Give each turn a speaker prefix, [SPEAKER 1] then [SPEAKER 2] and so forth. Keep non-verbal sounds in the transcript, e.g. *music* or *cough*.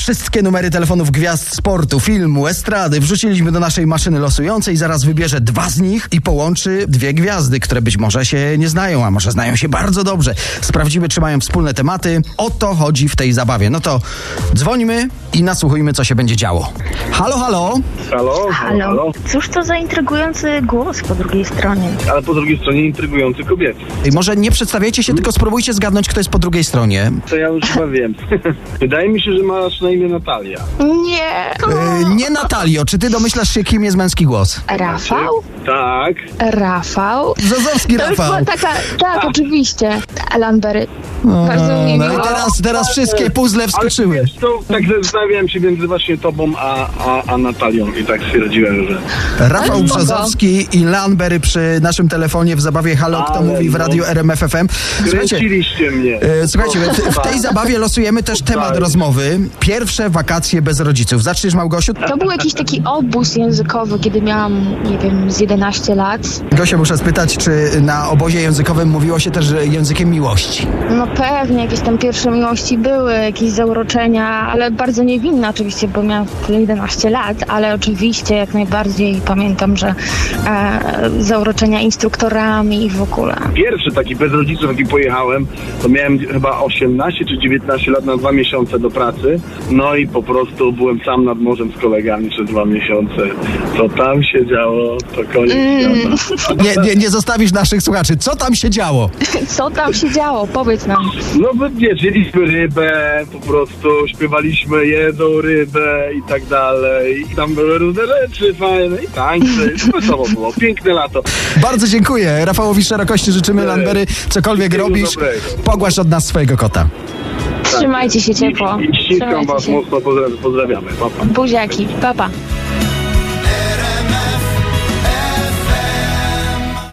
[SPEAKER 1] Wszystkie numery telefonów gwiazd sportu, filmu, estrady wrzuciliśmy do naszej maszyny losującej. Zaraz wybierze dwa z nich i połączy dwie gwiazdy, które być może się nie znają, a może znają się bardzo dobrze. Sprawdzimy, czy mają wspólne tematy. O to chodzi w tej zabawie. No to dzwońmy i nasłuchujmy, co się będzie działo. Halo, halo.
[SPEAKER 2] Halo?
[SPEAKER 3] Halo. Cóż to za intrygujący głos po drugiej stronie?
[SPEAKER 2] Ale po drugiej stronie intrygujący kobiety.
[SPEAKER 1] Ej, Y, Może nie przedstawiajcie się, tylko spróbujcie zgadnąć, kto jest po drugiej stronie.
[SPEAKER 2] To ja już chyba wiem. *laughs* Wydaje mi się, że masz na imię Natalia.
[SPEAKER 3] Nie.
[SPEAKER 1] E, nie Natalio, czy ty domyślasz się, kim jest męski głos?
[SPEAKER 4] Rafał?
[SPEAKER 2] Tak.
[SPEAKER 4] Rafał?
[SPEAKER 1] Zazowski
[SPEAKER 4] To już
[SPEAKER 1] Rafał.
[SPEAKER 4] była taka, tak, oczywiście. Lambery. Bardzo mi
[SPEAKER 1] No i
[SPEAKER 4] miło.
[SPEAKER 1] teraz, teraz wszystkie puzzle
[SPEAKER 2] Ale
[SPEAKER 1] wskoczyły.
[SPEAKER 2] wiesz, to tak zastanawiałem się między właśnie tobą a, a, a Natalią i tak stwierdziłem, że...
[SPEAKER 1] Rafał
[SPEAKER 4] Ale spoko.
[SPEAKER 1] Brzozowski i Lanbery przy naszym telefonie w zabawie Halo, kto
[SPEAKER 2] Ale
[SPEAKER 1] mówi w
[SPEAKER 2] no.
[SPEAKER 1] radiu RMF FM. Słuchajcie,
[SPEAKER 2] Kręciliście mnie.
[SPEAKER 1] e, słuchajcie, w- w tej
[SPEAKER 2] Tak.
[SPEAKER 1] zabawie losujemy też temat
[SPEAKER 2] Totalnie.
[SPEAKER 1] rozmowy. Pierwsze wakacje bez rodziców. Zaczniesz, Małgosiu?
[SPEAKER 4] To był jakiś taki obóz językowy, kiedy miałam, nie wiem, z 11 lat.
[SPEAKER 1] Gosia, muszę spytać, czy na obozie językowym mówiło się też e, językiem miłości?
[SPEAKER 4] No pewnie, jakieś tam pierwsze miłości były, jakieś zauroczenia, ale bardzo niewinna oczywiście, bo miałam tyle 11 lat, ale oczywiście jak najbardziej pamiętam, że e, zauroczenia instruktorami i w ogóle.
[SPEAKER 2] Pierwszy taki bez rodziców, jaki pojechałem, to miałem chyba 18 czy 19 lat na dwa miesiące do pracy. No i po prostu byłem sam nad morzem z kolegami przez dwa miesiące. Co tam się działo, to koniec
[SPEAKER 1] Mm. *laughs*
[SPEAKER 2] świata.
[SPEAKER 1] Nie, nie, nie zostawisz naszych słuchaczy. Co tam się działo?
[SPEAKER 4] Co tam się działo? Powiedz nam.
[SPEAKER 2] No bo wiesz, jedliśmy rybę, po prostu śpiewaliśmy jedzą rybę i tak dalej. I tam były różne rzeczy fajne i tańce. Wesoło było, piękne lato.
[SPEAKER 1] Bardzo dziękuję. Rafałowi szerokości życzymy,
[SPEAKER 2] Nie.
[SPEAKER 1] Lanbery. Cokolwiek
[SPEAKER 2] Wszystkiego
[SPEAKER 1] robisz,
[SPEAKER 2] dobrego.
[SPEAKER 1] pogłasz od nas swojego kota.
[SPEAKER 4] Trzymajcie się ciepło.
[SPEAKER 2] I, i ściskam
[SPEAKER 4] Trzymajcie
[SPEAKER 2] was
[SPEAKER 4] się.
[SPEAKER 2] mocno, pozdrawiam, pozdrawiamy. Pa, pa.
[SPEAKER 4] Buziaki, papa. Pa.